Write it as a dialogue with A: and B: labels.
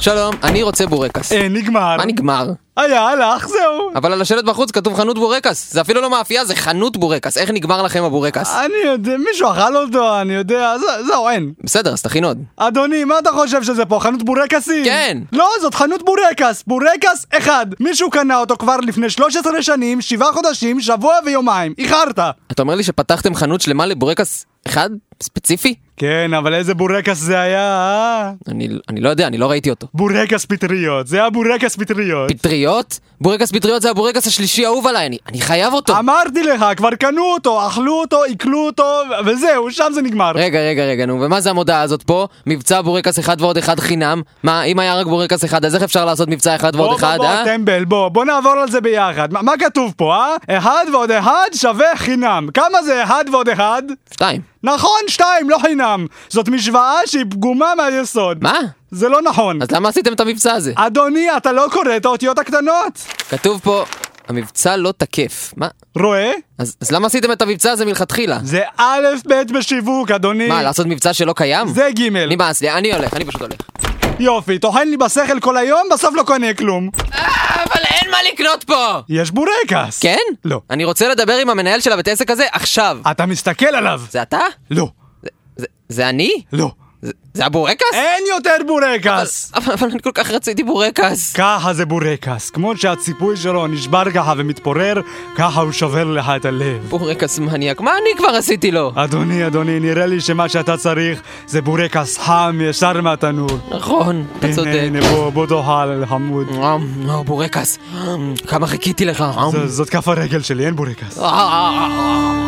A: שלום, אני רוצה בורקס.
B: אה, נגמר.
A: מה נגמר?
B: היה, הלך, זהו.
A: אבל על השלט בחוץ כתוב חנות בורקס. זה אפילו לא מאפייה, זה חנות בורקס. איך נגמר לכם הבורקס?
B: אני יודע, מישהו אכל אותו, אני יודע, זה- זהו, אין.
A: בסדר, אז תכין עוד.
B: אדוני, מה אתה חושב שזה פה? חנות בורקסים?
A: כן.
B: לא, זאת חנות בורקס. בורקס אחד. מישהו קנה אותו כבר לפני 13 שנים, שבעה חודשים, שבוע ויומיים. איחרת.
A: אתה אומר לי שפתחתם חנות שלמה לבורקס אחד? ספציפי?
B: כן, אבל איזה בורקס זה היה, אה?
A: אני, אני לא יודע, אני לא ראיתי אותו.
B: בורקס פטריות. זה היה בורקס פטריות.
A: פטריות? בורקס פטריות זה הבורקס השלישי האהוב עליי, אני, אני חייב אותו.
B: אמרתי לך, כבר קנו אותו, אכלו אותו, עיכלו אותו, ו- וזהו, שם זה נגמר.
A: רגע, רגע, רגע, נו, ומה זה המודעה הזאת פה? מבצע בורקס אחד ועוד אחד חינם? מה, אם היה רק בורקס אחד, אז איך אפשר לעשות מבצע אחד ועוד
B: בוא,
A: אחד,
B: בוא,
A: אה?
B: בוא, טמבל, בוא, בוא נעבור על זה ביחד. מה- מה כתוב פה, אה? אחד ועוד אחד שווה חינם. כמה זה אחד ועוד אחד?
A: שתיים.
B: נכון, שתיים, לא חינם. זאת משוואה שהיא פגומה מהיסוד.
A: מה?
B: זה לא נכון.
A: אז למה עשיתם את המבצע הזה?
B: אדוני, אתה לא קורא את האותיות הקטנות.
A: כתוב פה, המבצע לא תקף. מה?
B: רואה?
A: אז, אז למה עשיתם את המבצע הזה מלכתחילה?
B: זה א' ב' בשיווק, אדוני.
A: מה, לא- לעשות מבצע שלא קיים?
B: זה ג'.
A: נמאס לי, אני הולך, אני פשוט הולך.
B: יופי, טוחן לי בשכל כל היום, בסוף לא קונה כלום.
A: אה, אבל אין מה לקנות פה!
B: יש בורקס.
A: כן?
B: לא. אה.
A: אני רוצה לדבר עם המנהל של הבית עסק הזה עכשיו.
B: אתה מסתכל עליו.
A: זה אתה?
B: לא.
A: זה- זה- זה אני?
B: לא.
A: זה- זה הבורקס?
B: אין יותר בורקס!
A: אבל, אבל אני כל כך רציתי בורקס.
B: ככה זה בורקס, כמו שהציפוי שלו נשבר ככה ומתפורר, ככה הוא שובר לך את הלב.
A: בורקס מניאק, מה אני כבר עשיתי לו?
B: אדוני, אדוני, נראה לי שמה שאתה צריך זה בורקס חם ישר מהתנור.
A: נכון, אתה
B: הנה,
A: צודק.
B: הנה, בוא, בוא תאכל, חמוד.
A: אמ, אה, בורקס, אמ, כמה חיכיתי לך. אמ.
B: ז- זאת כף הרגל שלי, אין בורקס.
A: אה, אה, אה, אה.